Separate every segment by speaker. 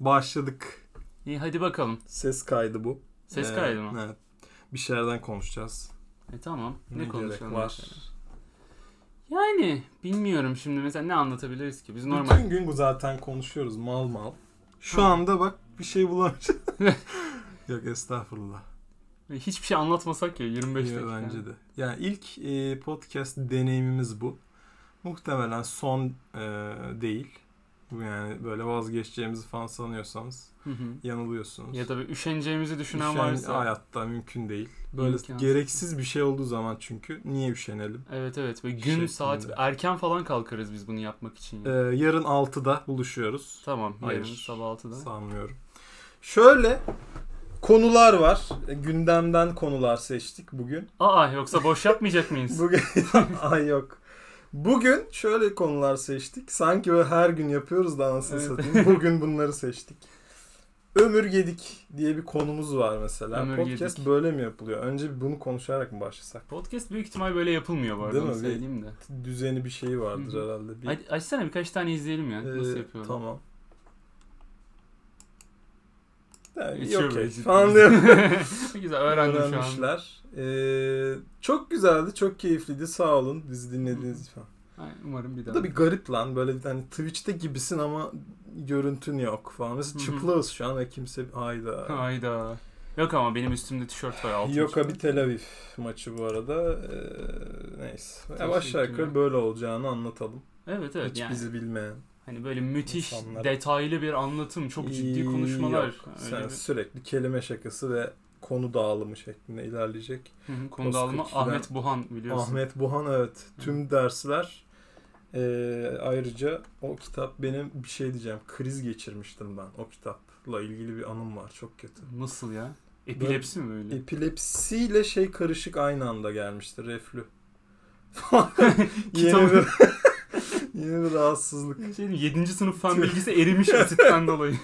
Speaker 1: Başladık.
Speaker 2: İyi hadi bakalım.
Speaker 1: Ses kaydı bu.
Speaker 2: Ses
Speaker 1: Ee,
Speaker 2: kaydı mı?
Speaker 1: Evet. Bir şeylerden konuşacağız.
Speaker 2: E tamam. Ne,
Speaker 1: gerek
Speaker 2: konuşalım
Speaker 1: var?
Speaker 2: mesela? Yani bilmiyorum şimdi mesela ne anlatabiliriz ki? Biz normal.
Speaker 1: Bütün gün bu zaten konuşuyoruz mal mal. Şu anda bak bir şey bulamayacağım. Yok estağfurullah.
Speaker 2: Hiçbir şey anlatmasak ya 25
Speaker 1: Ya,
Speaker 2: dakika.
Speaker 1: Bence de. Yani ilk e, podcast deneyimimiz bu. Muhtemelen son e, değil. Bu Yani böyle vazgeçeceğimizi falan sanıyorsanız
Speaker 2: Hı hı.
Speaker 1: yanılıyorsunuz.
Speaker 2: Ya da bir üşeneceğimizi düşünen
Speaker 1: Üşen-
Speaker 2: varsa.
Speaker 1: Hayatta mümkün değil. Böyle
Speaker 2: İmkansız.
Speaker 1: gereksiz bir şey olduğu zaman çünkü niye üşenelim?
Speaker 2: Evet evet. Böyle gün
Speaker 1: Şey Şeklinde.
Speaker 2: saat erken falan kalkarız biz bunu yapmak için.
Speaker 1: Ee,
Speaker 2: ya.
Speaker 1: yarın 6'da buluşuyoruz.
Speaker 2: Tamam. Yarın
Speaker 1: hayır.
Speaker 2: sabah 6'da.
Speaker 1: Sanmıyorum. Şöyle konular var. E, Gündemden konular seçtik bugün.
Speaker 2: Aa yoksa boş yapmayacak mıyız?
Speaker 1: Bugün ay yok. Bugün şöyle konular seçtik. Sanki böyle her gün yapıyoruz da anasını
Speaker 2: Evet.
Speaker 1: satayım. Bugün bunları seçtik. Ömür yedik diye bir konumuz var mesela.
Speaker 2: Ömür
Speaker 1: Podcast
Speaker 2: yedik.
Speaker 1: böyle mi yapılıyor? Önce bir bunu konuşarak mı başlasak?
Speaker 2: Podcast büyük ihtimal böyle yapılmıyor bu arada.
Speaker 1: Değil mi?
Speaker 2: onu
Speaker 1: Bir-
Speaker 2: Söyleyeyim de.
Speaker 1: Düzeni bir şey vardır
Speaker 2: Hı hı.
Speaker 1: herhalde. Bir,
Speaker 2: Hadi açsana birkaç tane izleyelim ya. Nasıl
Speaker 1: Ee,
Speaker 2: yapıyorlar?
Speaker 1: Tamam. Yani,
Speaker 2: İçiyor
Speaker 1: okay.
Speaker 2: böyle ciddi.
Speaker 1: Falan diyorum.
Speaker 2: Güzel öğrendim şu an.
Speaker 1: Öğrenmişler. Ee, çok güzeldi, çok keyifliydi. Sağ olun bizi dinlediğiniz için.
Speaker 2: Ay, Umarım bir
Speaker 1: Bu
Speaker 2: daha.
Speaker 1: da bir garip lan. Böyle bir hani Twitch'te gibisin ama görüntün yok falan. Mesela
Speaker 2: Hı hı.
Speaker 1: çıplağız şu an ve kimse hayda.
Speaker 2: Hayda. Yok ama benim üstümde tişört var altın.
Speaker 1: Yok abi
Speaker 2: üstü.
Speaker 1: Tel Aviv maçı bu arada. Ee, neyse. Ya aşağı yukarı
Speaker 2: Teşekkürler.
Speaker 1: böyle olacağını anlatalım.
Speaker 2: Evet evet
Speaker 1: Hiç
Speaker 2: yani.
Speaker 1: bizi bilmeyen.
Speaker 2: Hani böyle müthiş
Speaker 1: İnsanlara-
Speaker 2: detaylı bir anlatım. Çok ciddi
Speaker 1: İyi,
Speaker 2: konuşmalar.
Speaker 1: yok. Sen
Speaker 2: Öyle bir...
Speaker 1: sürekli kelime şakası ve konu dağılımı şeklinde ilerleyecek.
Speaker 2: Hı hı, Konu dağılımı
Speaker 1: Koskoç
Speaker 2: Ahmet Buhan biliyorsun.
Speaker 1: Ahmet Buhan evet. Tüm dersler Ee, ayrıca o kitap benim bir şey diyeceğim. Kriz geçirmiştim ben o kitapla ilgili bir anım var. Çok kötü.
Speaker 2: Nasıl ya? Epilepsi mi böyle?
Speaker 1: Epilepsiyle şey karışık aynı anda gelmişti. Reflü. yeni,
Speaker 2: Kitabı-
Speaker 1: bir, yeni bir rahatsızlık.
Speaker 2: Şey diyeyim, 7. sınıf fen bilgisi erimiş asitten dolayı.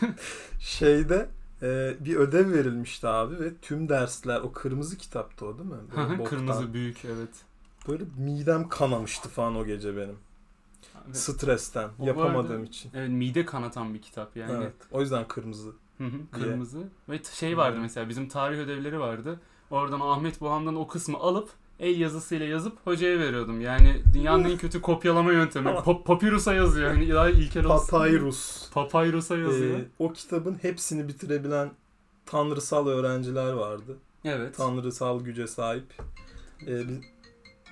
Speaker 1: Şeyde e, bir ödev verilmişti abi ve tüm dersler o kırmızı kitaptı o değil mi?
Speaker 2: Hı hı,
Speaker 1: boktan.
Speaker 2: Kırmızı büyük evet.
Speaker 1: Böyle midem kanamıştı falan o gece benim.
Speaker 2: Evet.
Speaker 1: Stresten
Speaker 2: O bu
Speaker 1: yapamadığım
Speaker 2: arada-
Speaker 1: için.
Speaker 2: Evet, mide kanatan bir kitap yani.
Speaker 1: Evet. O yüzden kırmızı.
Speaker 2: Hı hı, Kırmızı. Ve t- şey vardı
Speaker 1: Evet.
Speaker 2: mesela bizim tarih ödevleri vardı. Oradan Ahmet Bohan'dan o kısmı alıp el yazısıyla yazıp hocaya veriyordum. Yani dünyanın en kötü kopyalama yöntemi. Pa- papyrusa yazıyor. Hani daha ilkel olsun.
Speaker 1: Papyrus.
Speaker 2: Papyrusa yazıyor.
Speaker 1: Ee, o kitabın hepsini bitirebilen tanrısal öğrenciler vardı.
Speaker 2: evet.
Speaker 1: Tanrısal güce sahip. Ee, biz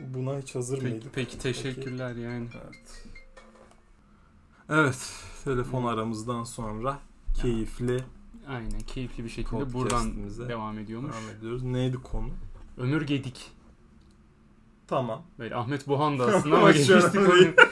Speaker 1: buna hiç hazır
Speaker 2: Peki,
Speaker 1: mıydık?
Speaker 2: peki teşekkürler yani.
Speaker 1: Evet. Evet, telefon aramızdan sonra keyifli
Speaker 2: Aynen keyifli bir şekilde buradan
Speaker 1: podcast'imize
Speaker 2: devam ediyormuş.
Speaker 1: devam ediyoruz. Neydi konu?
Speaker 2: Ömür Gedik.
Speaker 1: Tamam.
Speaker 2: Böyle Ahmet Bohan da aslında ama
Speaker 1: Ama şu an
Speaker 2: geçmiştik
Speaker 1: öyle
Speaker 2: onu.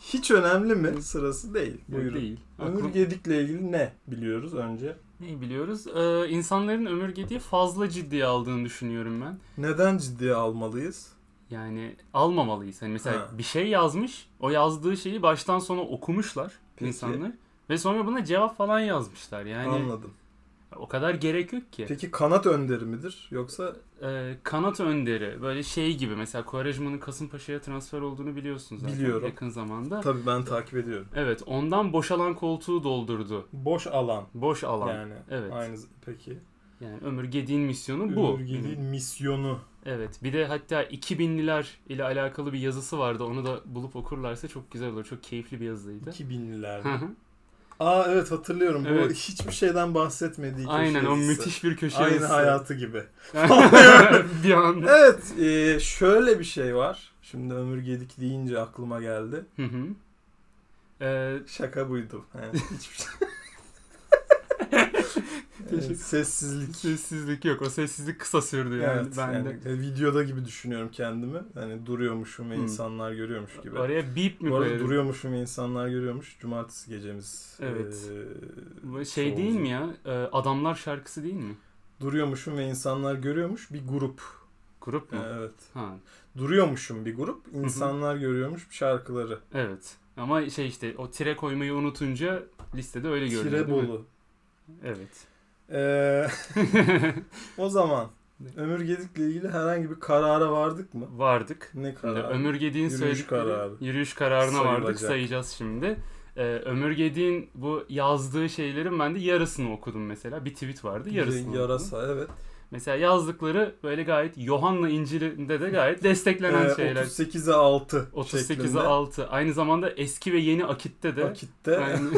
Speaker 1: Hiç önemli mi? Sırası değil. Buyurun.
Speaker 2: Değil.
Speaker 1: Ömür
Speaker 2: Aklım-
Speaker 1: Gedik'le ilgili ne biliyoruz önce?
Speaker 2: Neyi biliyoruz? Ee, insanların Ömür Gedik'i fazla ciddiye aldığını düşünüyorum ben.
Speaker 1: Neden ciddiye almalıyız?
Speaker 2: Yani almamalıyız. Hani mesela
Speaker 1: Ha.
Speaker 2: bir şey yazmış, o yazdığı şeyi baştan sona okumuşlar
Speaker 1: Peki.
Speaker 2: insanlar ve sonra buna cevap falan yazmışlar. Yani
Speaker 1: Anladım.
Speaker 2: o kadar gerek yok ki.
Speaker 1: Peki kanat önderi midir? Yoksa
Speaker 2: Ee, kanat önderi böyle şey gibi mesela Kovarejman'ın Kasımpaşa'ya transfer olduğunu biliyorsun zaten
Speaker 1: Biliyorum.
Speaker 2: yakın zamanda.
Speaker 1: tabii ben takip ediyorum.
Speaker 2: Evet, ondan boşalan koltuğu doldurdu.
Speaker 1: Boş alan
Speaker 2: Boş alan. Yani,
Speaker 1: yani.
Speaker 2: Evet.
Speaker 1: Aynı peki.
Speaker 2: Ömür Gedik'in misyonu bu.
Speaker 1: Bu. Gedik'in misyonu.
Speaker 2: Evet. Bir de hatta 2000'liler ile alakalı bir yazısı vardı. Onu da bulup okurlarsa çok güzel olur. Çok keyifli bir yazıydı.
Speaker 1: 2000'lilerde.
Speaker 2: Hı hı.
Speaker 1: Aa evet hatırlıyorum. Bu
Speaker 2: Evet.
Speaker 1: hiçbir şeyden bahsetmediği köşe
Speaker 2: Aynen o
Speaker 1: yazısı.
Speaker 2: müthiş bir köşe
Speaker 1: Aynı
Speaker 2: yazısı.
Speaker 1: hayatı gibi.
Speaker 2: bir anda.
Speaker 1: Evet e, şöyle bir şey var. Şimdi Ömür Gedik deyince aklıma geldi.
Speaker 2: Hı hı. Ee,
Speaker 1: Şaka buydu. Yani hiçbir şey. Evet, sessizlik.
Speaker 2: sessizlik yok. O sessizlik kısa sürdü yani
Speaker 1: evet,
Speaker 2: ben
Speaker 1: yani
Speaker 2: de.
Speaker 1: e, videoda gibi düşünüyorum kendimi. Hani duruyormuşum ve
Speaker 2: Hmm.
Speaker 1: insanlar görüyormuş gibi.
Speaker 2: Oraya bip mi
Speaker 1: Bu arada
Speaker 2: koyarız?
Speaker 1: duruyormuşum ve insanlar görüyormuş. Cumartesi gecemiz.
Speaker 2: Evet.
Speaker 1: e,
Speaker 2: Bu Şey değil
Speaker 1: çoğunluğu.
Speaker 2: mi ya? Ee, Adamlar şarkısı değil mi?
Speaker 1: Duruyormuşum ve insanlar görüyormuş bir grup. E,
Speaker 2: Grup mu?
Speaker 1: Evet.
Speaker 2: Ha,
Speaker 1: Duruyormuşum bir grup. insanlar görüyormuş şarkıları.
Speaker 2: evet. Ama şey işte o tire koymayı unutunca listede öyle görünüyor. değil mi?
Speaker 1: Tirebolu.
Speaker 2: Evet.
Speaker 1: Ee, o zaman Ömür Gedik'le ilgili herhangi bir karara vardık mı?
Speaker 2: Vardık.
Speaker 1: Ne
Speaker 2: Şimdi
Speaker 1: kararı?
Speaker 2: Ömür Gedi'nin
Speaker 1: Yürüyüş
Speaker 2: söyledikleri
Speaker 1: kararı.
Speaker 2: yürüyüş kararına vardık
Speaker 1: Sayılacak.
Speaker 2: sayacağız şimdi. Ee, Ömür Gedik'in bu yazdığı şeylerin ben de yarısını okudum mesela. Bir tweet vardı yarısını okudum.
Speaker 1: Yarasa evet.
Speaker 2: Mesela yazdıkları böyle gayet Yohanna İncil'inde de gayet desteklenen
Speaker 1: Ee,
Speaker 2: şeyler.
Speaker 1: 38'e 6
Speaker 2: 38'e 6. Aynı zamanda eski ve yeni Akit'te de.
Speaker 1: Akit'te.
Speaker 2: Yani-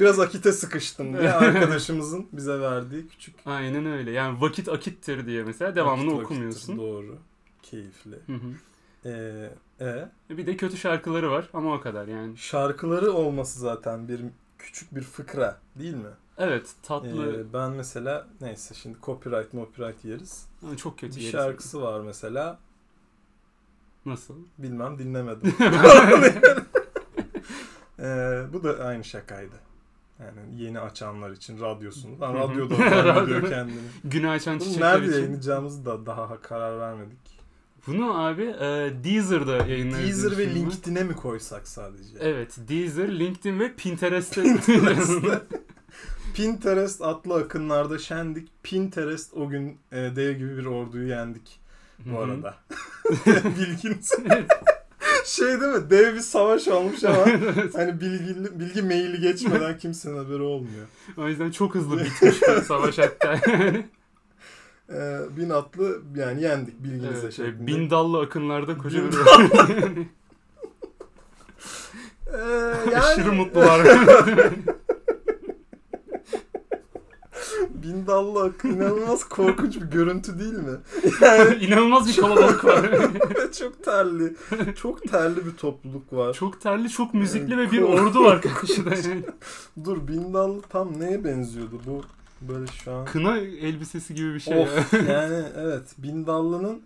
Speaker 1: Biraz Akit'e sıkıştım diye arkadaşımızın bize verdiği küçük
Speaker 2: aynen öyle. Yani vakit akittir diye mesela devamını
Speaker 1: vakit vakittir,
Speaker 2: okumuyorsun.
Speaker 1: Doğru. Keyifli.
Speaker 2: Hı hı.
Speaker 1: Ee, e,
Speaker 2: Bir de kötü şarkıları var ama o kadar yani.
Speaker 1: şarkıları olması zaten bir küçük bir fıkra değil mi?
Speaker 2: Evet tatlı
Speaker 1: Ee, ben mesela neyse şimdi copyright copyright yeriz.
Speaker 2: ama çok kötü.
Speaker 1: bir
Speaker 2: yeri.
Speaker 1: şarkısı var mesela.
Speaker 2: Nasıl?
Speaker 1: Bilmem dinlemedim. Ee, bu da aynı şakaydı. Yani yeni açanlar için radyosunu. Ben
Speaker 2: Hı hı.
Speaker 1: radyoda zannediyor
Speaker 2: Radyoda.
Speaker 1: kendini.
Speaker 2: Günü açan
Speaker 1: Bunu
Speaker 2: çiçekler
Speaker 1: nerede
Speaker 2: için.
Speaker 1: yayınlayacağımızı da daha karar vermedik.
Speaker 2: Bunu abi e, Deezer'da yayınlayabilir.
Speaker 1: Deezer ve LinkedIn'e mi koysak sadece?
Speaker 2: Evet Deezer, LinkedIn ve Pinterest'te.
Speaker 1: Pinterest atlı akınlarda şendik. Pinterest o gün e, dev gibi bir orduyu yendik bu arada. Bilginiz. şey değil mi? Dev bir savaş olmuş ama hani bilgi, bilgi maili geçmeden kimsenin haberi olmuyor.
Speaker 2: o yüzden çok hızlı bitmiş bu savaş hatta.
Speaker 1: Ee, bin atlı yani yendik bilginize
Speaker 2: evet, e,
Speaker 1: şeklinde.
Speaker 2: bin dallı akınlarda koca
Speaker 1: Bin
Speaker 2: bir
Speaker 1: Ee,
Speaker 2: Aşırı
Speaker 1: yani-
Speaker 2: mutlular.
Speaker 1: Bin dallı akın inanılmaz korkunç bir görüntü değil mi?
Speaker 2: İnanılmaz bir kalabalık var.
Speaker 1: çok terli. Çok terli bir topluluk var.
Speaker 2: çok terli, çok müzikli
Speaker 1: Evet,
Speaker 2: ve bir
Speaker 1: korkunç.
Speaker 2: ordu var karşıda. yani.
Speaker 1: Dur bin dallı tam neye benziyordu bu böyle şu an?
Speaker 2: Kına elbisesi gibi bir şey. ya.
Speaker 1: Of yani evet bin dallının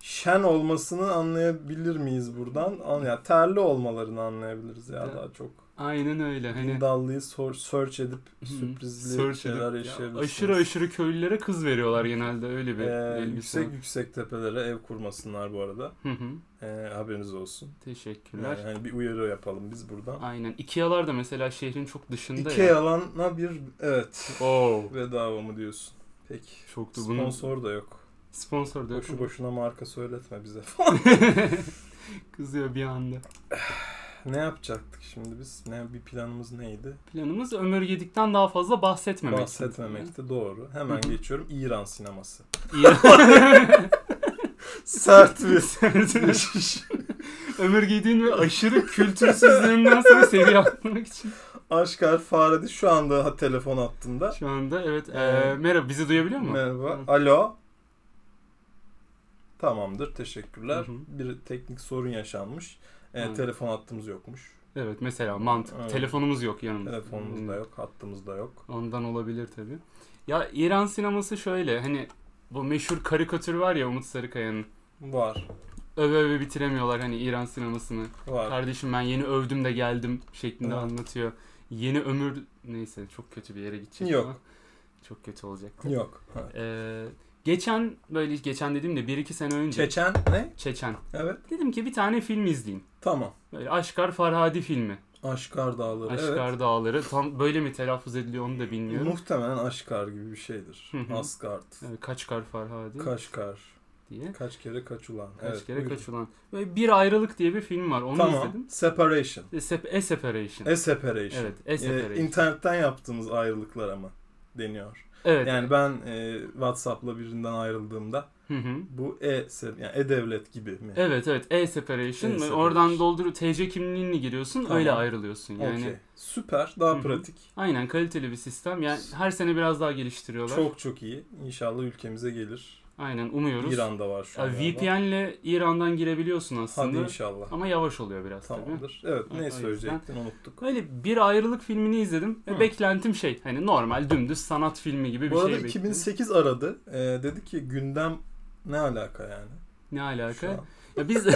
Speaker 1: şen olmasını anlayabilir miyiz buradan? An ya terli olmalarını anlayabiliriz ya
Speaker 2: Ya.
Speaker 1: daha çok.
Speaker 2: Aynen öyle.
Speaker 1: Bin
Speaker 2: Hani
Speaker 1: dallıyı sor- search edip
Speaker 2: Hı,
Speaker 1: sürprizli
Speaker 2: search edip-
Speaker 1: şeyler
Speaker 2: Ya,
Speaker 1: yaşayabilirsiniz.
Speaker 2: aşırı aşırı köylülere kız veriyorlar genelde öyle bir
Speaker 1: Ee,
Speaker 2: elbise.
Speaker 1: yüksek yüksek tepelere ev kurmasınlar bu arada.
Speaker 2: Hı hı.
Speaker 1: Ee, haberiniz olsun.
Speaker 2: Teşekkürler.
Speaker 1: Yani, hani bir uyarı yapalım biz buradan.
Speaker 2: Aynen. Ikea'lar da mesela şehrin çok dışında
Speaker 1: İki
Speaker 2: ya.
Speaker 1: yalana bir evet
Speaker 2: Oo.
Speaker 1: bedava mı diyorsun? Peki.
Speaker 2: Çoktu bunun. Sponsor.
Speaker 1: Sponsor da yok.
Speaker 2: Sponsor da yok
Speaker 1: Boşu
Speaker 2: ama.
Speaker 1: boşuna marka söyletme bize.
Speaker 2: Kızıyor bir anda.
Speaker 1: ne yapacaktık şimdi biz? Ne bir planımız neydi?
Speaker 2: Planımız Ömür Gedik'ten daha fazla bahsetmemek.
Speaker 1: Bahsetmemekti doğru. Hemen
Speaker 2: Hı hı.
Speaker 1: geçiyorum İran sineması.
Speaker 2: İran-
Speaker 1: Sert bir
Speaker 2: Ömür Gedik'in ve aşırı kültürsüzlüğünden sonra seviye atlamak için.
Speaker 1: Aşkar Faredi şu anda ha, telefon attığında.
Speaker 2: Şu anda evet.
Speaker 1: Ee,
Speaker 2: Ee, merhaba bizi duyabiliyor mu?
Speaker 1: Merhaba.
Speaker 2: Hı.
Speaker 1: Alo. Tamamdır. Teşekkürler.
Speaker 2: Hı hı.
Speaker 1: Bir teknik sorun yaşanmış. Ee,
Speaker 2: Hı.
Speaker 1: telefon hattımız yokmuş.
Speaker 2: Evet mesela mantık.
Speaker 1: Evet.
Speaker 2: Telefonumuz yok yanımızda.
Speaker 1: Telefonumuz da
Speaker 2: Hmm.
Speaker 1: yok, hattımız da yok.
Speaker 2: Ondan olabilir tabii. Ya İran sineması şöyle hani bu meşhur karikatür var ya Umut Sarıkaya'nın.
Speaker 1: Var.
Speaker 2: Öve öve bitiremiyorlar hani İran sinemasını.
Speaker 1: Var.
Speaker 2: Kardeşim ben yeni övdüm de geldim şeklinde
Speaker 1: Evet.
Speaker 2: anlatıyor. Yeni ömür neyse çok kötü bir yere gidecek
Speaker 1: Yok.
Speaker 2: ama. Çok kötü olacak.
Speaker 1: Yok. Ha.
Speaker 2: Ee, geçen böyle geçen dediğim de 1-2 sene önce
Speaker 1: Çeçen ne?
Speaker 2: Çeçen.
Speaker 1: Evet.
Speaker 2: Dedim ki bir tane film izleyeyim.
Speaker 1: Tamam.
Speaker 2: Böyle Aşkar Farhadi filmi.
Speaker 1: Aşkar Dağları.
Speaker 2: Aşkar
Speaker 1: evet.
Speaker 2: Dağları. Tam böyle mi telaffuz ediliyor onu da bilmiyorum.
Speaker 1: Muhtemelen Aşkar gibi bir şeydir.
Speaker 2: Hı hı.
Speaker 1: Asgard.
Speaker 2: Evet, Kaçkar Farhadi
Speaker 1: Kaşkar.
Speaker 2: diye.
Speaker 1: Kaç kere kaçulan.
Speaker 2: Kaç
Speaker 1: evet,
Speaker 2: kere
Speaker 1: buyurun.
Speaker 2: kaçılan. Böyle bir ayrılık diye bir film var. Onu
Speaker 1: Tamam.
Speaker 2: izledim.
Speaker 1: Separation.
Speaker 2: E, sep- A Separation.
Speaker 1: A separation. E, Ee,
Speaker 2: Evet, A Separation.
Speaker 1: internetten yaptığımız ayrılıklar ama deniyor.
Speaker 2: evet.
Speaker 1: Yani ben e, WhatsApp'la birinden ayrıldığımda
Speaker 2: Hı hı.
Speaker 1: bu e se- yani e devlet gibi mi?
Speaker 2: Evet evet E separation.
Speaker 1: E-separation.
Speaker 2: Oradan doldurup TC kimliğini giriyorsun
Speaker 1: Tamam.
Speaker 2: öyle ayrılıyorsun yani.
Speaker 1: Okey. Süper. Daha
Speaker 2: Hı hı.
Speaker 1: pratik.
Speaker 2: Aynen kaliteli bir sistem. Yani her sene biraz daha geliştiriyorlar.
Speaker 1: Çok çok iyi. İnşallah ülkemize gelir.
Speaker 2: Aynen umuyoruz.
Speaker 1: İran'da var şu an.
Speaker 2: Ya,
Speaker 1: galiba.
Speaker 2: VPN ile İran'dan girebiliyorsun
Speaker 1: Hadi
Speaker 2: aslında.
Speaker 1: inşallah.
Speaker 2: Ama yavaş oluyor biraz tabii.
Speaker 1: Tamamdır. Evet,
Speaker 2: O
Speaker 1: ne
Speaker 2: yüzden-
Speaker 1: söyleyecektin unuttuk.
Speaker 2: Öyle bir ayrılık filmini izledim ve
Speaker 1: Hı.
Speaker 2: beklentim şey hani normal dümdüz sanat filmi gibi
Speaker 1: Bu
Speaker 2: bir
Speaker 1: arada
Speaker 2: şey bekledim.
Speaker 1: 2008 aradı. Ee, dedi ki gündem ne alaka yani?
Speaker 2: Ne
Speaker 1: Şu an.
Speaker 2: alaka? Ya biz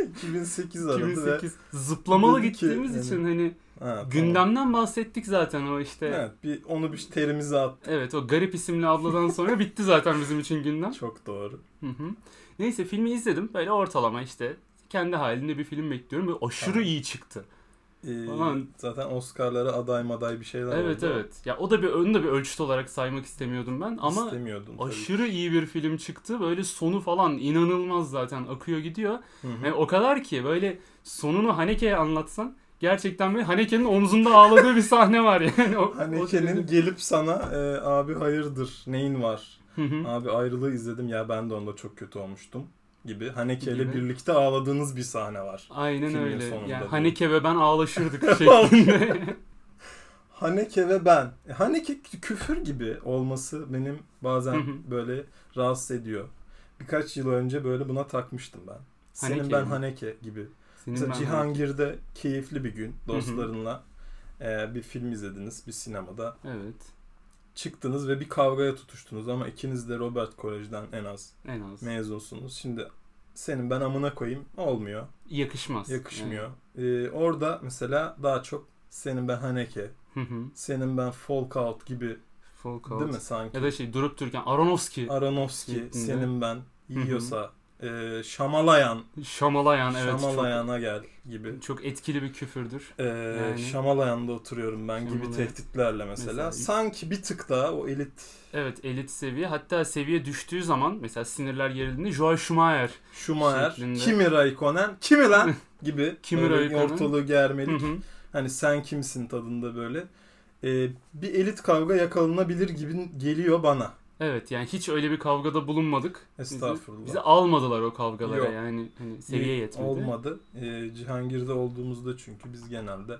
Speaker 1: 2008 aradı ve
Speaker 2: 2008 zıplamalı
Speaker 1: Dedi ki,
Speaker 2: gittiğimiz
Speaker 1: hani-
Speaker 2: için hani
Speaker 1: Ha, tamam.
Speaker 2: gündemden bahsettik zaten o işte. Evet.
Speaker 1: Evet, bir onu bir terimize at.
Speaker 2: o garip isimli abladan sonra bitti zaten bizim için gündem.
Speaker 1: Çok doğru.
Speaker 2: Hı hı. Neyse filmi izledim böyle ortalama işte kendi halinde bir film bekliyorum ve aşırı
Speaker 1: Tamam.
Speaker 2: iyi çıktı.
Speaker 1: Ee,
Speaker 2: Falan.
Speaker 1: Zaten Oscar'lara aday maday bir şeyler
Speaker 2: Evet
Speaker 1: oldu.
Speaker 2: evet. Ya o da bir onu da bir ölçüt olarak saymak istemiyordum ben ama
Speaker 1: İstemiyordum tabii.
Speaker 2: aşırı iyi bir film çıktı. Böyle sonu falan inanılmaz zaten akıyor gidiyor.
Speaker 1: Hı hı.
Speaker 2: Yani o kadar ki böyle sonunu Haneke'ye anlatsan gerçekten böyle Haneke'nin omzunda ağladığı bir sahne var yani. O, o
Speaker 1: Haneke'nin
Speaker 2: derece-
Speaker 1: Hani gelip sana e, abi hayırdır neyin var
Speaker 2: Hı hı.
Speaker 1: Abi ayrılığı izledim ya ben de onda çok kötü olmuştum gibi. Haneke ile
Speaker 2: Gibi.
Speaker 1: birlikte ağladığınız bir sahne var.
Speaker 2: Aynen
Speaker 1: filmin
Speaker 2: öyle.
Speaker 1: sonunda
Speaker 2: Yani
Speaker 1: bu.
Speaker 2: Haneke ve ben ağlaşırdık şeklinde.
Speaker 1: Haneke ve ben. E, Haneke kü- küfür gibi olması benim
Speaker 2: Hı
Speaker 1: bazen
Speaker 2: hı.
Speaker 1: böyle rahatsız ediyor. Birkaç yıl önce böyle buna takmıştım ben. Senin
Speaker 2: Haneke
Speaker 1: ben
Speaker 2: mi?
Speaker 1: Haneke gibi.
Speaker 2: Senin
Speaker 1: Mesela
Speaker 2: ben-
Speaker 1: Cihangir'de keyifli bir gün
Speaker 2: hı.
Speaker 1: dostlarınla e, bir film izlediniz bir sinemada.
Speaker 2: Evet.
Speaker 1: Çıktınız ve bir kavgaya tutuştunuz ama ikiniz de Robert Kolej'den en az
Speaker 2: En az.
Speaker 1: mezunsunuz. Şimdi senin ben amına koyayım olmuyor.
Speaker 2: Yakışmaz.
Speaker 1: Yakışmıyor. Ee, orada mesela daha çok senin ben Haneke,
Speaker 2: Yani. Hı hı.
Speaker 1: senin ben Falkout gibi
Speaker 2: Folk out.
Speaker 1: değil mi sanki?
Speaker 2: Ya da şey durup dururken Aronofsky.
Speaker 1: Aronofsky,
Speaker 2: Şeklinde.
Speaker 1: senin ben yiyorsa, e, Şamalayan,
Speaker 2: Şamalayan evet.
Speaker 1: Şamalayan'a gel gibi.
Speaker 2: Çok, çok etkili bir küfürdür.
Speaker 1: E,
Speaker 2: Yani.
Speaker 1: Şamalayan'da oturuyorum ben gibi
Speaker 2: Şamalayan.
Speaker 1: tehditlerle mesela.
Speaker 2: Mesela-
Speaker 1: Sanki bir tık daha o elit
Speaker 2: Evet elit seviye. Hatta seviye düştüğü zaman mesela sinirler gerildiğinde Joel Schumacher.
Speaker 1: Schumacher,
Speaker 2: Şeklinde.
Speaker 1: kimi Raikkonen, kimi lan gibi
Speaker 2: Kimi
Speaker 1: böyle
Speaker 2: Raikkonen.
Speaker 1: ortalığı
Speaker 2: Hı
Speaker 1: germelik.
Speaker 2: hı.
Speaker 1: Hani sen kimsin tadında böyle. Ee, bir elit kavga yakalanabilir gibi geliyor bana.
Speaker 2: Evet yani hiç öyle bir kavgada bulunmadık. Bizi-
Speaker 1: Estağfurullah.
Speaker 2: Bizi almadılar o kavgalara
Speaker 1: Yok.
Speaker 2: yani. Hani seviye
Speaker 1: İyi,
Speaker 2: yetmedi.
Speaker 1: Olmadı. Ee, Cihangir'de olduğumuzda çünkü biz genelde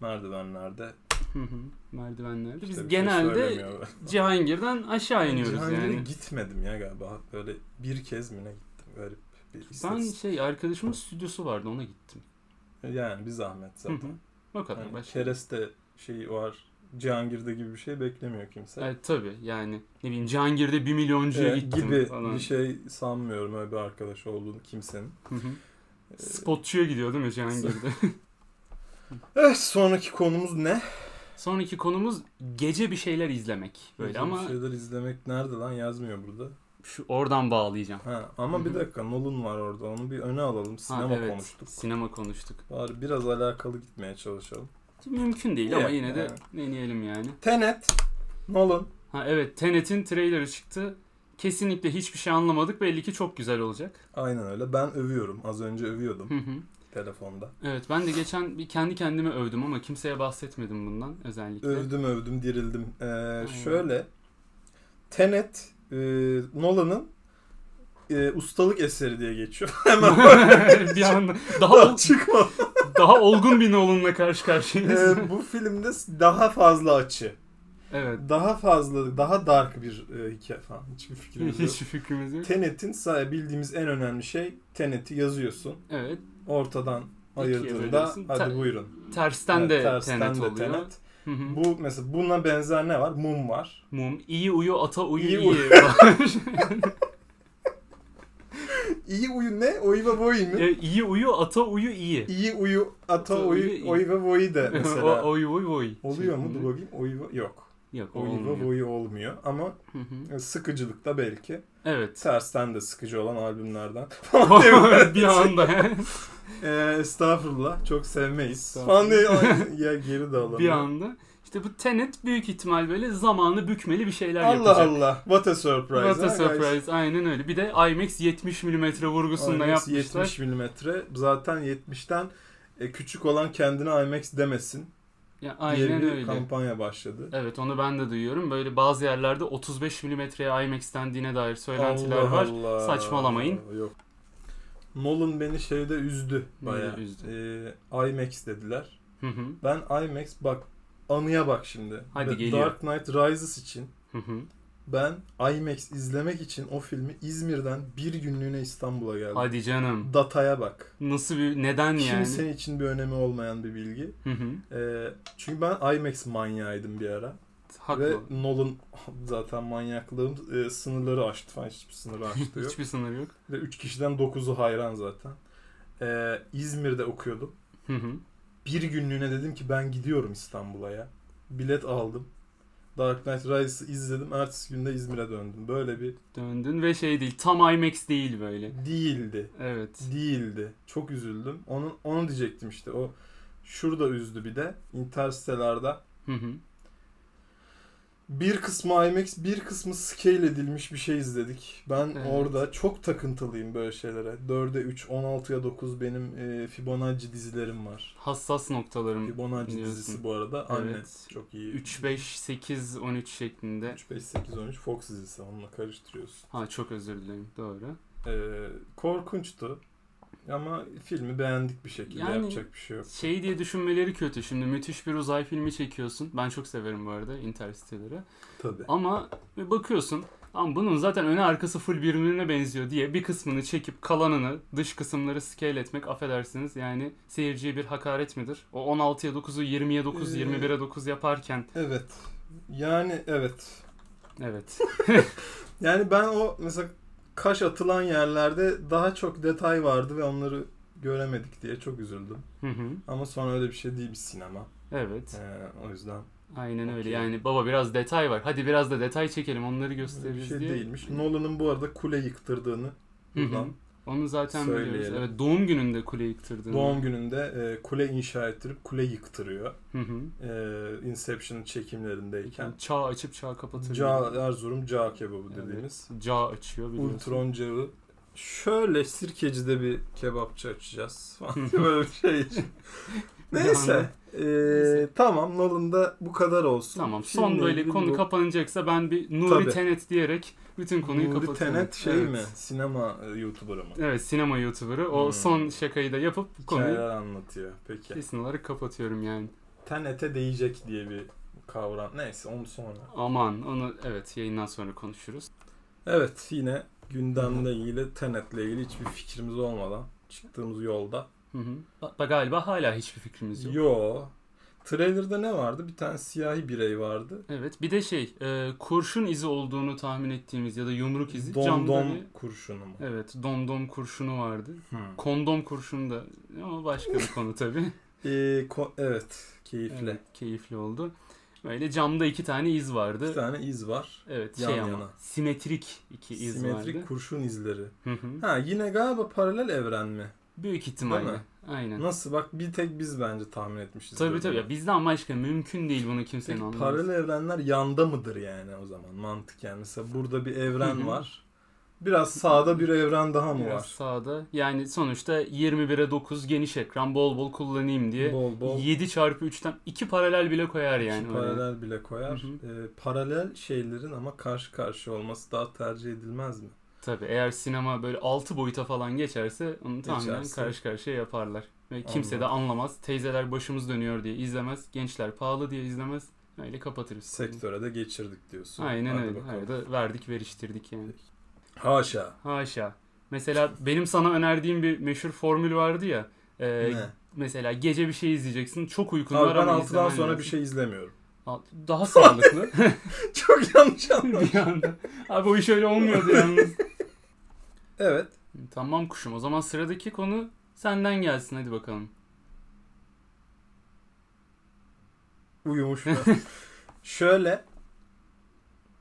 Speaker 1: merdivenlerde
Speaker 2: Hı hı. Merdivenlerde. Biz
Speaker 1: işte bir şey
Speaker 2: genelde
Speaker 1: söylemiyor.
Speaker 2: Cihangir'den aşağı iniyoruz
Speaker 1: Cihangir'e
Speaker 2: yani.
Speaker 1: gitmedim ya galiba. Böyle bir kez mi ne gittim. Garip bir
Speaker 2: Ben
Speaker 1: istatistik.
Speaker 2: şey arkadaşımın stüdyosu vardı ona gittim.
Speaker 1: Ee, Yani bir zahmet
Speaker 2: Hı
Speaker 1: zaten.
Speaker 2: hı. O kadar
Speaker 1: Yani
Speaker 2: başka.
Speaker 1: kereste şeyi var. Cihangir'de gibi bir şey beklemiyor kimse.
Speaker 2: Evet tabii yani ne bileyim Cihangir'de bir milyoncuya
Speaker 1: Ee,
Speaker 2: gittim
Speaker 1: gibi
Speaker 2: falan.
Speaker 1: bir şey sanmıyorum öyle bir arkadaş olduğunu kimsenin.
Speaker 2: Hı hı.
Speaker 1: Ee,
Speaker 2: Spotçuya gidiyor değil mi Cihangir'de?
Speaker 1: Evet Eh, sonraki konumuz ne?
Speaker 2: Sonraki konumuz gece bir şeyler izlemek. Böyle
Speaker 1: Böyle
Speaker 2: ama
Speaker 1: şeyler izlemek nerede lan yazmıyor burada.
Speaker 2: şu oradan bağlayacağım.
Speaker 1: Ha, ama bir
Speaker 2: Hı hı.
Speaker 1: dakika Nolan var orada onu bir öne alalım.
Speaker 2: Ha,
Speaker 1: Sinema
Speaker 2: evet,
Speaker 1: konuştuk.
Speaker 2: Sinema konuştuk.
Speaker 1: Bari biraz alakalı gitmeye çalışalım.
Speaker 2: Mümkün değil ama
Speaker 1: Yani,
Speaker 2: yine de
Speaker 1: evet.
Speaker 2: deneyelim yani.
Speaker 1: Tenet, Nolan.
Speaker 2: Ha evet Tenet'in trailerı çıktı. Kesinlikle hiçbir şey anlamadık. Belli ki çok güzel olacak.
Speaker 1: Aynen öyle. Ben övüyorum. Az önce övüyordum
Speaker 2: Hı hı.
Speaker 1: telefonda.
Speaker 2: evet ben de geçen bir kendi kendime övdüm ama kimseye bahsetmedim bundan özellikle.
Speaker 1: Övdüm övdüm dirildim. Ee, şöyle. Tenet, e, Nolan'ın e, ustalık eseri diye geçiyor. Hemen
Speaker 2: bir anda daha
Speaker 1: daha
Speaker 2: ol-
Speaker 1: çıkmadı.
Speaker 2: daha olgun bir Nolan'la karşı karşıyayız.
Speaker 1: Ee, bu filmde daha fazla açı.
Speaker 2: evet.
Speaker 1: Daha fazla, daha dark bir e, hikaye falan. Hiçbir fikrimiz yok.
Speaker 2: Hiç fikrimiz yok.
Speaker 1: Tenet'in say- bildiğimiz en önemli şey Tenet'i yazıyorsun.
Speaker 2: Evet.
Speaker 1: Ortadan ayırdığında
Speaker 2: bölüyorsun.
Speaker 1: hadi
Speaker 2: Ter-
Speaker 1: buyurun.
Speaker 2: Tersten
Speaker 1: Evet,
Speaker 2: de
Speaker 1: tersten
Speaker 2: Tenet
Speaker 1: de
Speaker 2: oluyor.
Speaker 1: Tenet.
Speaker 2: Hı hı.
Speaker 1: Bu mesela buna benzer ne var? Mum var.
Speaker 2: Mum iyi uyu ata uyu
Speaker 1: İyi
Speaker 2: iyi.
Speaker 1: uyu. İyi uyu ne? Oy ve boy mu?
Speaker 2: E, iyi uyu ata uyu iyi.
Speaker 1: İyi uyu ata
Speaker 2: Ata
Speaker 1: oy,
Speaker 2: uyu, iyi.
Speaker 1: oy ve boyu de mesela.
Speaker 2: O- oy oy oy.
Speaker 1: Oluyor mu?
Speaker 2: şeklinde.
Speaker 1: Dur bakayım. Oy ve... Yok.
Speaker 2: Yok
Speaker 1: Oy ve
Speaker 2: olmuyor.
Speaker 1: boyu olmuyor. Ama e,
Speaker 2: Hı hı.
Speaker 1: sıkıcılıkta belki.
Speaker 2: Evet.
Speaker 1: Tersten de sıkıcı olan albümlerden.
Speaker 2: bir anda.
Speaker 1: Ee, estağfurullah. Çok sevmeyiz. Falan diye
Speaker 2: Estağfurullah.
Speaker 1: ya geri dağılalım.
Speaker 2: bir anda. İşte bu Tenet büyük ihtimal böyle zamanı bükmeli bir şeyler
Speaker 1: Allah
Speaker 2: yapacak.
Speaker 1: Allah. What a surprise.
Speaker 2: What a
Speaker 1: ha guys?
Speaker 2: surprise. Aynen öyle. Bir de IMAX 70 mm vurgusunda
Speaker 1: IMAX
Speaker 2: yapmışlar.
Speaker 1: 70 milimetre. Zaten 70'ten e, küçük olan kendine IMAX demesin
Speaker 2: Ya,
Speaker 1: diye
Speaker 2: aynen
Speaker 1: bir
Speaker 2: öyle.
Speaker 1: kampanya başladı.
Speaker 2: Evet onu ben de duyuyorum. Böyle bazı yerlerde 35 mm'ye IMAX dendiğine dair söylentiler
Speaker 1: Allah
Speaker 2: var.
Speaker 1: Allah.
Speaker 2: Saçmalamayın.
Speaker 1: Yok. Nolan beni şeyde üzdü
Speaker 2: Neyde
Speaker 1: bayağı.
Speaker 2: üzdü?
Speaker 1: Ee, IMAX dediler.
Speaker 2: Hı hı.
Speaker 1: Ben IMAX bak anıya bak şimdi.
Speaker 2: Hadi
Speaker 1: Ve
Speaker 2: geliyor.
Speaker 1: Dark Knight Rises için
Speaker 2: Hı hı.
Speaker 1: ben IMAX izlemek için o filmi İzmir'den bir günlüğüne İstanbul'a geldim.
Speaker 2: Hadi canım.
Speaker 1: Dataya bak.
Speaker 2: Nasıl bir neden yani?
Speaker 1: Kimsenin için bir önemi olmayan bir bilgi.
Speaker 2: Hı hı.
Speaker 1: Ee, çünkü ben IMAX manyağıydım bir ara.
Speaker 2: Haklı.
Speaker 1: Ve Nolan zaten manyaklığım e, sınırları aştı falan hiçbir sınırı aştı yok.
Speaker 2: Hiçbir sınır yok.
Speaker 1: Ve 3 kişiden 9'u hayran zaten. Ee, İzmir'de okuyordum.
Speaker 2: Hı hı.
Speaker 1: Bir günlüğüne dedim ki ben gidiyorum İstanbul'a ya. Bilet aldım. Dark Knight Rises'ı izledim. Ertesi günde İzmir'e döndüm. Böyle bir
Speaker 2: Döndün ve şey değil. Tam IMAX değil böyle.
Speaker 1: değildi.
Speaker 2: Evet.
Speaker 1: Değildi. Çok üzüldüm. Onun onu diyecektim işte. O şurada üzdü bir de. Interstellar'da
Speaker 2: Hı hı.
Speaker 1: bir kısmı IMAX, bir kısmı scale edilmiş bir şey izledik. Ben
Speaker 2: Evet.
Speaker 1: orada çok takıntılıyım böyle şeylere. 4'e 3, 16'ya 9 benim e, Fibonacci dizilerim var.
Speaker 2: Hassas noktalarım
Speaker 1: Fibonacci
Speaker 2: Biliyorsun.
Speaker 1: dizisi bu arada.
Speaker 2: Evet.
Speaker 1: Annet. Çok iyi.
Speaker 2: 3 5 8 13 şeklinde.
Speaker 1: 3, 5, 8, 13 Fox dizisi. Onunla karıştırıyorsun.
Speaker 2: Ha çok özür dilerim. Doğru.
Speaker 1: Ee, korkunçtu. Ama filmi beğendik bir şekilde.
Speaker 2: Yani-
Speaker 1: Yapacak bir şey yok.
Speaker 2: Şey diye düşünmeleri kötü. Şimdi müthiş bir uzay filmi çekiyorsun. Ben çok severim bu arada Interstellar'ı.
Speaker 1: Tabii.
Speaker 2: Ama bir bakıyorsun ama bunun zaten öne arkası full birbirine benziyor diye bir kısmını çekip kalanını dış kısımları scale etmek affedersiniz yani seyirciye bir hakaret midir? O 16'ya 9'u 20'ye 9,
Speaker 1: Ee,
Speaker 2: 21'e 9 yaparken
Speaker 1: Evet. Yani evet.
Speaker 2: evet.
Speaker 1: Yani ben o mesela kaş atılan yerlerde daha çok detay vardı ve onları göremedik diye çok üzüldüm.
Speaker 2: Hı hı.
Speaker 1: Ama sonra öyle bir şey değil bir sinema.
Speaker 2: evet.
Speaker 1: Ee, o yüzden
Speaker 2: Aynen öyle.
Speaker 1: Okey.
Speaker 2: Yani baba biraz detay var. Hadi biraz da detay çekelim onları
Speaker 1: öyle bir
Speaker 2: gösteririz
Speaker 1: şey
Speaker 2: diye.
Speaker 1: değilmiş. Nolan'ın bu arada kule yıktırdığını
Speaker 2: Hı hı.
Speaker 1: buradan
Speaker 2: Onu zaten
Speaker 1: Söyleyelim.
Speaker 2: biliyoruz. Evet doğum gününde kule yıktırdığını.
Speaker 1: doğum gününde e, kule inşa ettirip kule yıktırıyor.
Speaker 2: Hı hı.
Speaker 1: E, Inception'ın çekimlerindeyken.
Speaker 2: Çağ açıp çağ kapatır.
Speaker 1: Ca, Erzurum Ca kebabı
Speaker 2: Evet.
Speaker 1: dediğimiz.
Speaker 2: Cağ açıyor biliyorsun.
Speaker 1: Ultron Cağı. Şöyle sirkecide bir kebapçı açacağız falan böyle bir şey için. Neyse. Ee,
Speaker 2: Neyse.
Speaker 1: Tamam Nolan'da bu kadar olsun.
Speaker 2: Tamam son
Speaker 1: Filmle
Speaker 2: böyle
Speaker 1: ilgili
Speaker 2: konu
Speaker 1: bu.
Speaker 2: kapanacaksa ben bir Nuri
Speaker 1: Tabii.
Speaker 2: Tenet diyerek bütün konuyu
Speaker 1: Nuri
Speaker 2: kapatıyorum.
Speaker 1: Tenet şey
Speaker 2: Evet.
Speaker 1: mi? Sinema e, YouTuber'ı mı?
Speaker 2: Evet sinema YouTuber'ı. O
Speaker 1: Hmm. Şey,
Speaker 2: son şakayı da yapıp konuyu
Speaker 1: Hikayeler anlatıyor. Peki.
Speaker 2: kesin olarak kapatıyorum yani.
Speaker 1: Tenete değecek diye bir kavram. Neyse onu sonra.
Speaker 2: Aman onu evet yayından sonra konuşuruz.
Speaker 1: Evet yine gündemle ilgili Tenet'le ilgili hiçbir fikrimiz olmadan çıktığımız yolda.
Speaker 2: Hı hı. Ba- galiba hala hiçbir fikrimiz yok.
Speaker 1: Yo. Trailer'da ne vardı? Bir tane siyahi birey vardı.
Speaker 2: Evet bir de şey e, kurşun izi olduğunu tahmin ettiğimiz ya da yumruk izi
Speaker 1: Dom
Speaker 2: camda
Speaker 1: dom
Speaker 2: bir-
Speaker 1: kurşunu mu?
Speaker 2: Evet domdom kurşunu vardı.
Speaker 1: Hmm.
Speaker 2: Kondom kurşunu da ama başka bir konu tabii.
Speaker 1: Ee, ko- evet. Keyifli.
Speaker 2: Evet, keyifli oldu. Böyle camda iki tane iz vardı.
Speaker 1: İki tane iz var.
Speaker 2: Evet
Speaker 1: Yan
Speaker 2: şey ama
Speaker 1: yana.
Speaker 2: simetrik iki iz
Speaker 1: Simetrik
Speaker 2: vardı.
Speaker 1: kurşun izleri.
Speaker 2: Hı hı.
Speaker 1: Ha yine galiba paralel evren mi?
Speaker 2: Büyük ihtimalle.
Speaker 1: mi?
Speaker 2: Aynen.
Speaker 1: Nasıl bak bir tek biz bence tahmin etmişiz.
Speaker 2: Tabii
Speaker 1: böyle.
Speaker 2: tabii. Ya bizden başka mümkün değil bunu kimsenin
Speaker 1: Peki
Speaker 2: anlaması.
Speaker 1: paralel evrenler yanda mıdır yani o zaman mantık yani mesela burada bir
Speaker 2: Hı
Speaker 1: evren
Speaker 2: hı.
Speaker 1: var. Biraz sağda bir evren daha mı
Speaker 2: Biraz
Speaker 1: var?
Speaker 2: sağda. Yani sonuçta 21'e 9 geniş ekran bol bol kullanayım diye
Speaker 1: Bol bol
Speaker 2: 7 çarpı 3'ten iki paralel bile koyar yani.
Speaker 1: iki
Speaker 2: oraya.
Speaker 1: paralel bile koyar.
Speaker 2: Hı
Speaker 1: Ee, paralel şeylerin ama karşı karşıya olması daha tercih edilmez mi?
Speaker 2: Tabii eğer sinema böyle 6 boyuta falan geçerse onu tahminen
Speaker 1: Geçerse.
Speaker 2: karşı karşıya yaparlar. Ve kimse de anlamaz. Teyzeler başımız dönüyor diye izlemez. Gençler pahalı diye izlemez. Öyle kapatırız.
Speaker 1: Sektöre de geçirdik diyorsun.
Speaker 2: Aynen
Speaker 1: Hadi
Speaker 2: öyle.
Speaker 1: bakalım.
Speaker 2: Arada verdik veriştirdik yani.
Speaker 1: Haşa.
Speaker 2: Haşa. Mesela benim sana önerdiğim bir meşhur formül vardı ya. Ee,
Speaker 1: ne?
Speaker 2: mesela gece bir şey izleyeceksin. Çok uykun
Speaker 1: Abi
Speaker 2: var
Speaker 1: ben
Speaker 2: ama
Speaker 1: 6'dan
Speaker 2: izlemen
Speaker 1: sonra
Speaker 2: lazım.
Speaker 1: bir şey izlemiyorum.
Speaker 2: Al- Daha sağlıklı.
Speaker 1: Çok yanlış anladım.
Speaker 2: bir anda. Abi o iş öyle olmuyordu yalnız.
Speaker 1: evet.
Speaker 2: Tamam kuşum. O zaman sıradaki konu senden gelsin. Hadi bakalım.
Speaker 1: Uyumuş ben. Şöyle.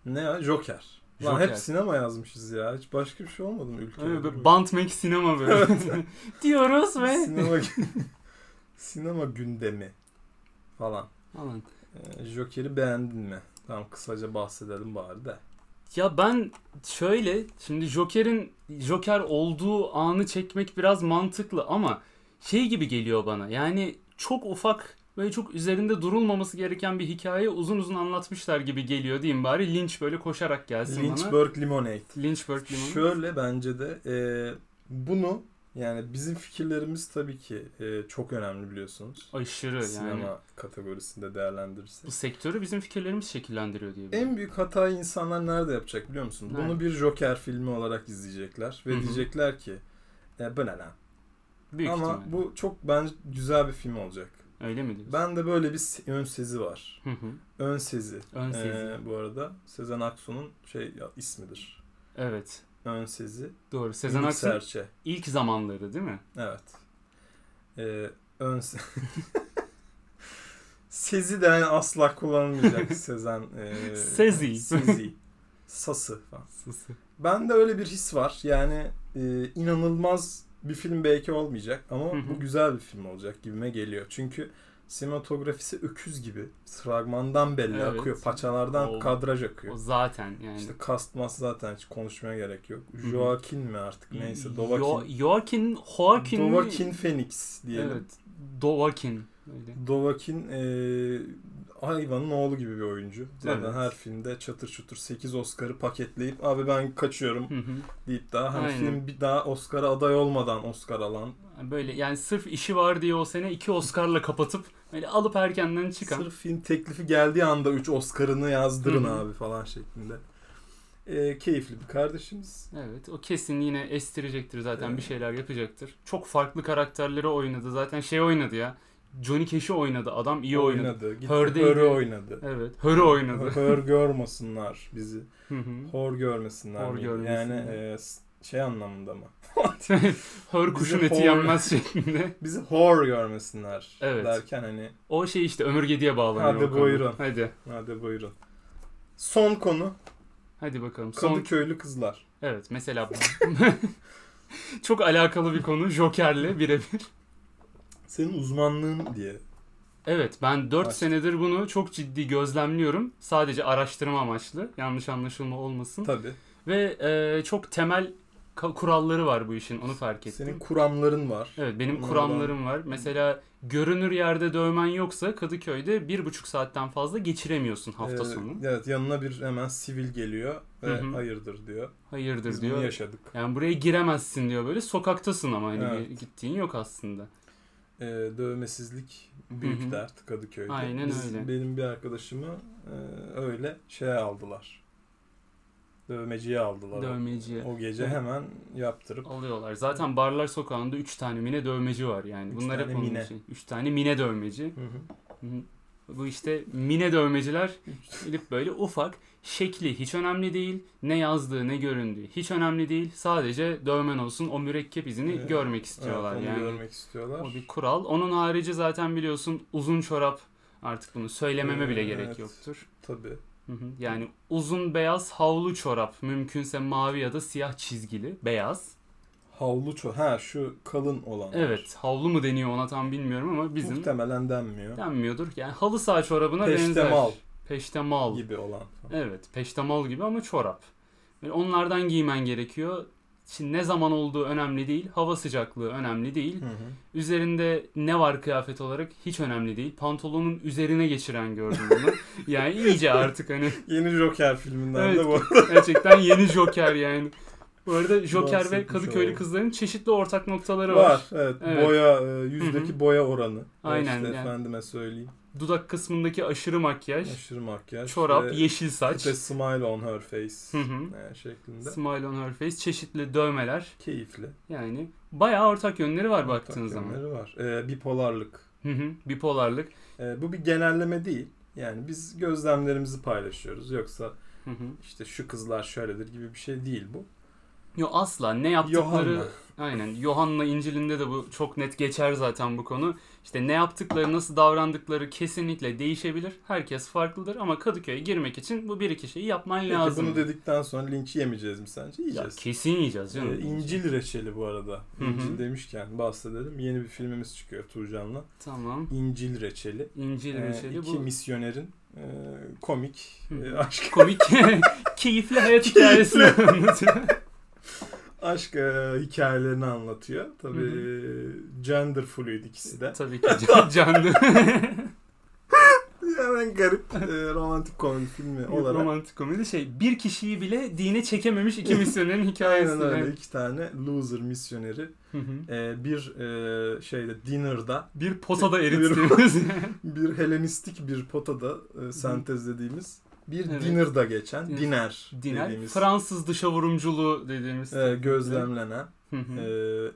Speaker 1: Ne ya? Joker. Lan
Speaker 2: Joker.
Speaker 1: hep sinema yazmışız ya. Hiç başka bir şey olmadı mı ülkede?
Speaker 2: Evet, böyle Bantmek sinema böyle. Diyoruz ve...
Speaker 1: sinema, sinema gündemi falan.
Speaker 2: Falan.
Speaker 1: Ee, Joker'i beğendin mi? Tamam kısaca bahsedelim bari de.
Speaker 2: Ya ben şöyle şimdi Joker'in Joker olduğu anı çekmek biraz mantıklı ama şey gibi geliyor bana. Yani çok ufak böyle çok üzerinde durulmaması gereken bir hikaye uzun uzun anlatmışlar gibi geliyor diyeyim bari. Lynch böyle koşarak gelsin bana.
Speaker 1: Lynchburg Limonade.
Speaker 2: Lynchburg Limanı.
Speaker 1: Şöyle bence de e, bunu yani bizim fikirlerimiz tabii ki e, çok önemli biliyorsunuz.
Speaker 2: Aşırı yani.
Speaker 1: Sinema kategorisinde değerlendirirsek.
Speaker 2: Bu sektörü bizim fikirlerimiz şekillendiriyor diye. biliyorum.
Speaker 1: En büyük hatayı insanlar nerede yapacak biliyor musun?
Speaker 2: Nerede?
Speaker 1: Bunu bir Joker filmi olarak izleyecekler ve
Speaker 2: Hı hı.
Speaker 1: diyecekler ki e, bu ne lan?
Speaker 2: Büyük
Speaker 1: Ama
Speaker 2: ihtimalle.
Speaker 1: bu çok bence güzel bir film olacak.
Speaker 2: Öyle mi diyorsun?
Speaker 1: Ben de böyle bir se- ön sezi var.
Speaker 2: Hı hı.
Speaker 1: Ön sezi.
Speaker 2: Ön sezi.
Speaker 1: Ee, bu arada Sezen Aksu'nun şey ya, ismidir.
Speaker 2: Evet.
Speaker 1: Ön sezi.
Speaker 2: Doğru. Sezen
Speaker 1: minik
Speaker 2: Aksu'nun
Speaker 1: Serçe.
Speaker 2: ilk zamanları değil mi?
Speaker 1: Evet. Ee, ön se- sezi de yani asla kullanılmayacak Sezen. ee,
Speaker 2: Sezi.
Speaker 1: Sezi. Sası falan. Bende öyle bir his var. Yani e, inanılmaz bir film belki olmayacak ama
Speaker 2: Hı hı.
Speaker 1: bu güzel bir film olacak gibime geliyor. Çünkü sinematografisi öküz gibi. Fragmandan belli
Speaker 2: Evet.
Speaker 1: akıyor. Paçalardan
Speaker 2: O-
Speaker 1: kadraj akıyor.
Speaker 2: O zaten yani.
Speaker 1: İşte kastmas zaten hiç konuşmaya gerek yok.
Speaker 2: hı.
Speaker 1: Joaquin mi artık neyse Dovakin.
Speaker 2: Yo- Joaquin, Joaquin mi?
Speaker 1: Dovakin Phoenix diyelim.
Speaker 2: Evet. Dovakin. Öyle.
Speaker 1: Dovakin e, hayvanın oğlu gibi bir oyuncu. Zaten
Speaker 2: Evet.
Speaker 1: her filmde çatır çutur 8 Oscar'ı paketleyip abi ben kaçıyorum
Speaker 2: Hı hı.
Speaker 1: deyip daha hani
Speaker 2: Aynen.
Speaker 1: film bir daha Oscar'a aday olmadan Oscar alan.
Speaker 2: Böyle yani sırf işi var diye o sene iki Oscar'la kapatıp böyle alıp erkenden çıkan.
Speaker 1: Sırf film teklifi geldiği anda 3 Oscar'ını yazdırın
Speaker 2: Hı hı.
Speaker 1: abi falan şeklinde. E, keyifli bir kardeşimiz.
Speaker 2: Evet o kesin yine estirecektir zaten
Speaker 1: Evet.
Speaker 2: bir şeyler yapacaktır. Çok farklı karakterleri oynadı zaten şey oynadı ya. Johnny Cash'i oynadı adam iyi oynadı.
Speaker 1: Gitti
Speaker 2: Hör'deydi.
Speaker 1: Hör'ü oynadı.
Speaker 2: Evet Hör'ü oynadı.
Speaker 1: Hör görmesinler bizi.
Speaker 2: Hı hı.
Speaker 1: Hor görmesinler.
Speaker 2: Hor
Speaker 1: miydi?
Speaker 2: görmesinler.
Speaker 1: Yani e, s- şey anlamında mı?
Speaker 2: Hör
Speaker 1: Bizim
Speaker 2: kuşun eti
Speaker 1: hor-
Speaker 2: yenmez şeklinde.
Speaker 1: Bizi hor görmesinler
Speaker 2: Evet.
Speaker 1: derken hani
Speaker 2: O şey işte Ömür Gedi'ye bağlanıyor.
Speaker 1: Hadi
Speaker 2: o konu.
Speaker 1: buyurun.
Speaker 2: Hadi.
Speaker 1: Hadi buyurun. Son konu
Speaker 2: Hadi bakalım. Son
Speaker 1: Kadıköylü kızlar.
Speaker 2: Evet mesela bu. Çok alakalı bir konu Joker'le birebir.
Speaker 1: Senin uzmanlığın diye.
Speaker 2: Evet ben 4
Speaker 1: Baş-
Speaker 2: senedir bunu çok ciddi gözlemliyorum. Sadece araştırma amaçlı. Yanlış anlaşılma olmasın.
Speaker 1: Tabii.
Speaker 2: Ve e, çok temel ka- kuralları var bu işin onu fark ettim.
Speaker 1: Senin kuramların var.
Speaker 2: Evet benim
Speaker 1: Bunlardan-
Speaker 2: kuramlarım var. Mesela görünür yerde dövmen yoksa Kadıköy'de bir buçuk saatten fazla geçiremiyorsun hafta
Speaker 1: Ee,
Speaker 2: sonu.
Speaker 1: Evet yanına bir hemen sivil geliyor ve
Speaker 2: Hı hı.
Speaker 1: hayırdır diyor.
Speaker 2: Hayırdır
Speaker 1: Biz
Speaker 2: diyor.
Speaker 1: bunu yaşadık.
Speaker 2: Yani buraya giremezsin diyor böyle sokaktasın ama hani
Speaker 1: Evet.
Speaker 2: bir gittiğin yok aslında.
Speaker 1: Ee, dövmesizlik büyük
Speaker 2: Hı hı.
Speaker 1: dert Kadıköy'de.
Speaker 2: Aynen
Speaker 1: Biz-
Speaker 2: öyle.
Speaker 1: Benim bir arkadaşımı e, öyle şey aldılar. Dövmeciye aldılar.
Speaker 2: Dövmeciye.
Speaker 1: O gece
Speaker 2: Evet.
Speaker 1: hemen yaptırıp
Speaker 2: Alıyorlar. Zaten barlar sokağında 3 tane mine dövmeci var yani.
Speaker 1: Üç
Speaker 2: Bunlar
Speaker 1: tane
Speaker 2: hep onun
Speaker 1: mine.
Speaker 2: şey. 3 tane mine dövmeci.
Speaker 1: Hı hı.
Speaker 2: Hı. Bu işte mine dövmeciler gelip böyle ufak şekli hiç önemli değil. Ne yazdığı ne göründüğü hiç önemli değil. Sadece dövmen olsun o mürekkep izini
Speaker 1: Evet.
Speaker 2: görmek istiyorlar
Speaker 1: Evet, onu
Speaker 2: yani.
Speaker 1: görmek istiyorlar.
Speaker 2: O bir kural. Onun harici zaten biliyorsun uzun çorap artık bunu söylememe bile gerek
Speaker 1: Ee, Evet.
Speaker 2: yoktur.
Speaker 1: Tabii.
Speaker 2: Hı hı. Yani uzun beyaz havlu çorap mümkünse mavi ya da siyah çizgili beyaz.
Speaker 1: Havlu ço ha şu kalın olan.
Speaker 2: Evet havlu mu deniyor ona tam bilmiyorum ama bizim
Speaker 1: Muhtemelen denmiyor.
Speaker 2: denmiyordur. Yani halı saha çorabına benzer.
Speaker 1: Peştemal
Speaker 2: Peştemal.
Speaker 1: gibi olan.
Speaker 2: Evet peştemal gibi ama çorap. Böyle onlardan giymen gerekiyor. Şimdi ne zaman olduğu önemli değil. Hava sıcaklığı önemli değil.
Speaker 1: Hı hı.
Speaker 2: Üzerinde ne var kıyafet olarak hiç önemli değil. Pantolonun üzerine geçiren gördüm bunu. yani iyice artık hani
Speaker 1: Yeni Joker filminden
Speaker 2: Evet.
Speaker 1: de bu.
Speaker 2: gerçekten yeni Joker yani. Bu arada Joker ve
Speaker 1: Bahsetmiş
Speaker 2: Kadıköylü
Speaker 1: olalım.
Speaker 2: kızların çeşitli ortak noktaları var.
Speaker 1: Var. Evet.
Speaker 2: Evet.
Speaker 1: Boya e, yüzdeki
Speaker 2: Hı
Speaker 1: boya oranı.
Speaker 2: Aynen,
Speaker 1: İşte
Speaker 2: yani.
Speaker 1: efendime söyleyeyim.
Speaker 2: Dudak kısmındaki aşırı makyaj,
Speaker 1: Aşırı makyaj.
Speaker 2: çorap,
Speaker 1: ve
Speaker 2: yeşil saç.
Speaker 1: işte smile on her face.
Speaker 2: Hı hı.
Speaker 1: e, şeklinde.
Speaker 2: Smile on her face, çeşitli dövmeler.
Speaker 1: Keyifli.
Speaker 2: Yani bayağı ortak yönleri var baktığın
Speaker 1: Ortak
Speaker 2: zaman.
Speaker 1: yönleri var. E, bipolarlık.
Speaker 2: Hı hı. Bipolarlık.
Speaker 1: E, bu bir genelleme değil. Yani biz gözlemlerimizi paylaşıyoruz. Yoksa
Speaker 2: Hı hı.
Speaker 1: işte şu kızlar şöyledir gibi bir şey değil bu.
Speaker 2: Yo asla ne yaptıkları
Speaker 1: Yohanna.
Speaker 2: aynen Yohanna İncil'inde de bu çok net geçer zaten bu konu. İşte ne yaptıkları, nasıl davrandıkları kesinlikle değişebilir. Herkes farklıdır ama Kadıköy'e girmek için bu bir iki şeyi yapman
Speaker 1: Peki
Speaker 2: lazım.
Speaker 1: bunu dedikten sonra linç yemeyeceğiz mi sence?
Speaker 2: ya,
Speaker 1: Yiyeceğiz.
Speaker 2: kesin yiyeceğiz canım.
Speaker 1: Ee, İncil reçeli bu arada.
Speaker 2: Hı hı.
Speaker 1: İncil demişken bahsedelim. Yeni bir filmimiz çıkıyor Turcan'la.
Speaker 2: Tamam.
Speaker 1: İncil reçeli.
Speaker 2: İncil
Speaker 1: Ee,
Speaker 2: reçeli
Speaker 1: iki
Speaker 2: bu.
Speaker 1: misyonerin e, komik
Speaker 2: Hı.
Speaker 1: e, aşk
Speaker 2: komik, keyifli hayat hikayesini anlatıyor.
Speaker 1: aşk e, hikayelerini anlatıyor. Tabii
Speaker 2: Hı
Speaker 1: e, gender fluid ikisi de.
Speaker 2: Tabii ki can- canlı
Speaker 1: Yani en garip e, romantik komedi filmi olarak.
Speaker 2: romantik komedi şey bir kişiyi bile dine çekememiş iki misyonerin hikayesi.
Speaker 1: Aynen öyle iki tane loser misyoneri
Speaker 2: Hı hı.
Speaker 1: e, bir e, şeyde dinner'da
Speaker 2: bir posada
Speaker 1: Bir-
Speaker 2: erittiğimiz.
Speaker 1: bir Helenistik bir potada e, sentezlediğimiz bir
Speaker 2: Evet.
Speaker 1: dinner'da geçen
Speaker 2: Dinner.
Speaker 1: diner,
Speaker 2: Diner,
Speaker 1: dediğimiz
Speaker 2: Fransız dışavurumculuğu dediğimiz.
Speaker 1: e, gözlemlenen
Speaker 2: Hı hı.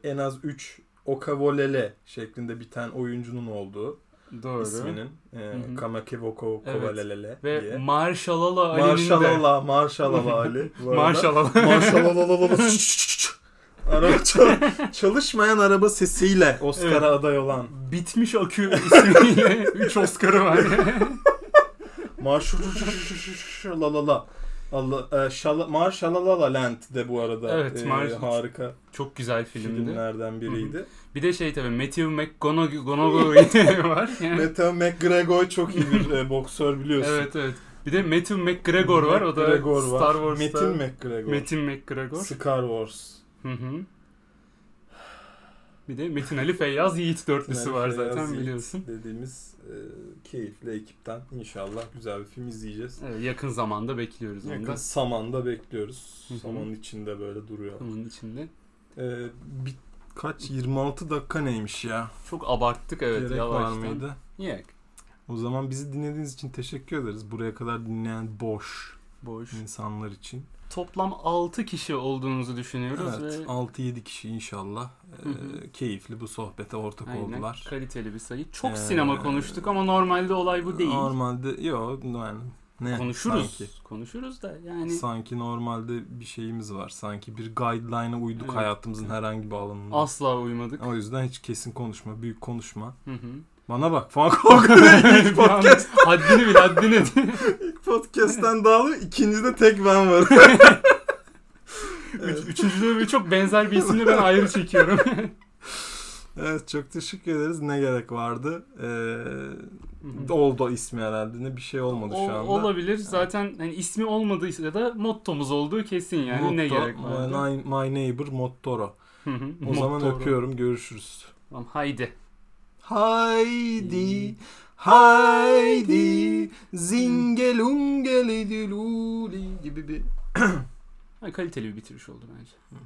Speaker 1: e, en az 3 Okavolele şeklinde biten oyuncunun olduğu
Speaker 2: Doğru.
Speaker 1: isminin e,
Speaker 2: hı.
Speaker 1: Kamakevoko
Speaker 2: Evet.
Speaker 1: Kovalelele
Speaker 2: Ve
Speaker 1: diye.
Speaker 2: Marşalala Ali'nin de.
Speaker 1: Marşalala, Marşalala Ali. bu arada.
Speaker 2: Marşalala.
Speaker 1: Marşalala. Araba çal- çalışmayan araba sesiyle Oscar'a
Speaker 2: Evet.
Speaker 1: aday olan
Speaker 2: Bitmiş Akü ismiyle 3 Oscar'ı var.
Speaker 1: Marşalala. Allah, e, Şala, Marshallalala Land de bu arada
Speaker 2: Evet,
Speaker 1: e,
Speaker 2: Mar-
Speaker 1: harika
Speaker 2: Çok güzel filmdi.
Speaker 1: filmlerden biriydi.
Speaker 2: Bir de şey tabii Matthew McConaughey var. Yani,
Speaker 1: Meta McGregor çok iyi bir e, boksör biliyorsun.
Speaker 2: evet evet. Bir de Matthew McGregor var. O da
Speaker 1: McGregor var.
Speaker 2: Star Wars'ta.
Speaker 1: Metin McGregor.
Speaker 2: Metin McGregor.
Speaker 1: Star Wars.
Speaker 2: Hı hı. Bir de Metin Ali Feyyaz Yiğit dörtlüsü
Speaker 1: Metin
Speaker 2: var
Speaker 1: Ali Feyyaz
Speaker 2: zaten
Speaker 1: Yiğit
Speaker 2: biliyorsun.
Speaker 1: şey, Dediğimiz e, keyifli ekipten inşallah güzel bir film izleyeceğiz.
Speaker 2: Evet, yakın zamanda bekliyoruz onu
Speaker 1: Yakın
Speaker 2: da.
Speaker 1: Saman'da bekliyoruz.
Speaker 2: Hı hı.
Speaker 1: Saman'ın içinde böyle duruyor.
Speaker 2: Bunun içinde.
Speaker 1: E, bir, kaç 26 dakika neymiş ya?
Speaker 2: Çok abarttık evet
Speaker 1: Gerek var
Speaker 2: yavaştan.
Speaker 1: mıydı?
Speaker 2: Yok.
Speaker 1: O zaman bizi dinlediğiniz için teşekkür ederiz. Buraya kadar dinleyen boş
Speaker 2: Boş.
Speaker 1: insanlar için.
Speaker 2: Toplam 6 kişi olduğunuzu düşünüyoruz
Speaker 1: Evet,
Speaker 2: ve
Speaker 1: 6-7 kişi inşallah e,
Speaker 2: Hı hı.
Speaker 1: keyifli bu sohbete ortak
Speaker 2: Aynen,
Speaker 1: oldular.
Speaker 2: kaliteli bir sayı. Çok
Speaker 1: Ee,
Speaker 2: sinema konuştuk ama normalde olay bu değil.
Speaker 1: Normalde yok yani ne
Speaker 2: Konuşuruz.
Speaker 1: sanki.
Speaker 2: Konuşuruz da yani
Speaker 1: Sanki normalde bir şeyimiz var. Sanki bir guideline'a uyduk
Speaker 2: Evet.
Speaker 1: hayatımızın herhangi bir alanında.
Speaker 2: asla uymadık.
Speaker 1: o yüzden hiç kesin konuşma, büyük konuşma.
Speaker 2: Hı hı.
Speaker 1: Bana bak falan korkuyor. İlk podcast,
Speaker 2: haddini bil haddini.
Speaker 1: ilk podcast'ten dağılıyor. İkincide tek ben varım.
Speaker 2: Üç, üçüncüde bir çok benzer bir isimle ben ayrı çekiyorum.
Speaker 1: Evet çok teşekkür ederiz. Ne gerek vardı? Ee,
Speaker 2: Hı hı.
Speaker 1: oldu ismi herhalde. Ne bir şey olmadı
Speaker 2: Ol-
Speaker 1: şu anda.
Speaker 2: olabilir. Zaten hani ismi olmadıysa da mottomuz olduğu kesin yani. ne
Speaker 1: Motto,
Speaker 2: gerek var?
Speaker 1: My, my neighbor Mottoro.
Speaker 2: Hı hı.
Speaker 1: O zaman
Speaker 2: Motto.
Speaker 1: öpüyorum. Görüşürüz.
Speaker 2: Tamam, haydi.
Speaker 1: Haydi, haydi, zingelungeli diluli gibi bir
Speaker 2: Ha, kaliteli bir bitiriş oldu bence.